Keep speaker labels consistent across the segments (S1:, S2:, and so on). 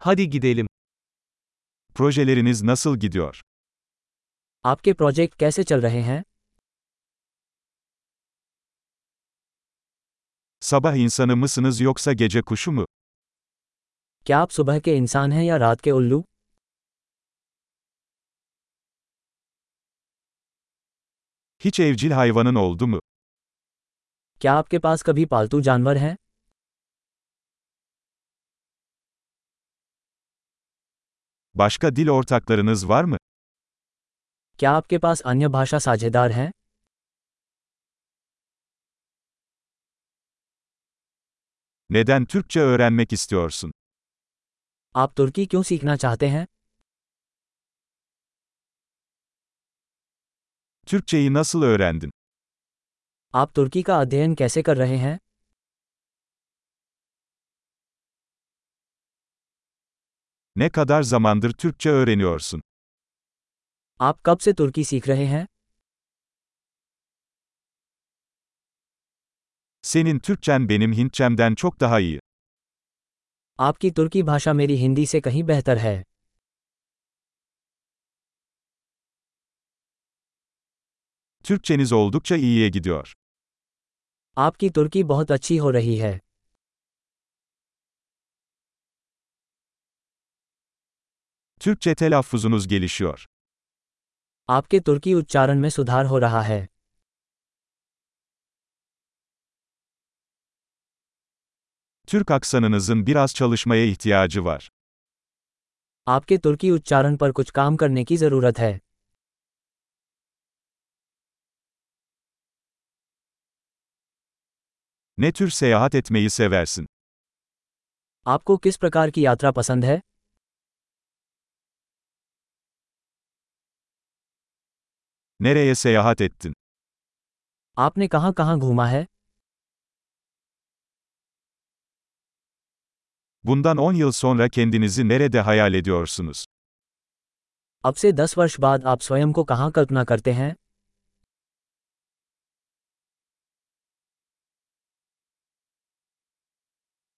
S1: Hadi gidelim.
S2: Projeleriniz nasıl gidiyor?
S3: आपके project कैसे चल रहे हैं
S2: Sabah insanı mısınız yoksa gece kuşu mu?
S3: क्या आप सुबह के इंसान हैं या रात के उल्लू
S2: Hiç evcil hayvanın oldu mu?
S3: क्या आपके पास कभी पालतू जानवर हैं
S2: Başka dil ortaklarınız var mı?
S3: क्या आपके पास अन्य भाषा साझेदार हैं
S2: Neden Türkçe öğrenmek istiyorsun?
S3: आप तुर्की क्यों सीखना चाहते हैं
S2: Türkçeyi nasıl öğrendin?
S3: आप तुर्की का अध्ययन कैसे कर रहे हैं
S2: Ne kadar zamandır Türkçe öğreniyorsun?
S3: आप कब से तुर्की सीख रहे हैं
S2: Senin Türkçen benim Hintçemden çok daha iyi.
S3: आपकी तुर्की भाषा मेरी हिंदी से कहीं बेहतर है
S2: Türkçeniz oldukça iyiye gidiyor.
S3: आपकी तुर्की बहुत अच्छी हो रही है
S2: Türkçe telaffuzunuz gelişiyor.
S3: आपके तुर्की उच्चारण में सुधार हो रहा है
S2: Türk aksanınızın biraz çalışmaya ihtiyacı var.
S3: आपके तुर्की उच्चारण पर कुछ काम करने की ज़रूरत है
S2: Ne tür seyahat etmeyi seversin?
S3: आपको किस प्रकार की यात्रा पसंद है
S2: Nereye seyahat ettin?
S3: आपने कहाँ कहाँ घूमा है
S2: Bundan 10 yıl sonra kendinizi nerede hayal ediyorsunuz?
S3: अब से दस वर्ष बाद आप स्वयं को कहाँ कल्पना करते हैं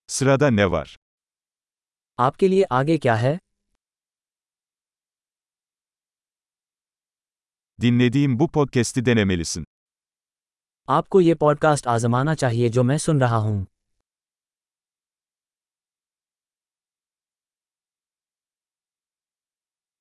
S2: Sırada ne var?
S3: आपके लिए आगे क्या है
S2: Dinlediğim bu podcast'i denemelisin.
S3: आपको ये पॉडकास्ट आजमाना चाहिए जो मैं सुन रहा हूँ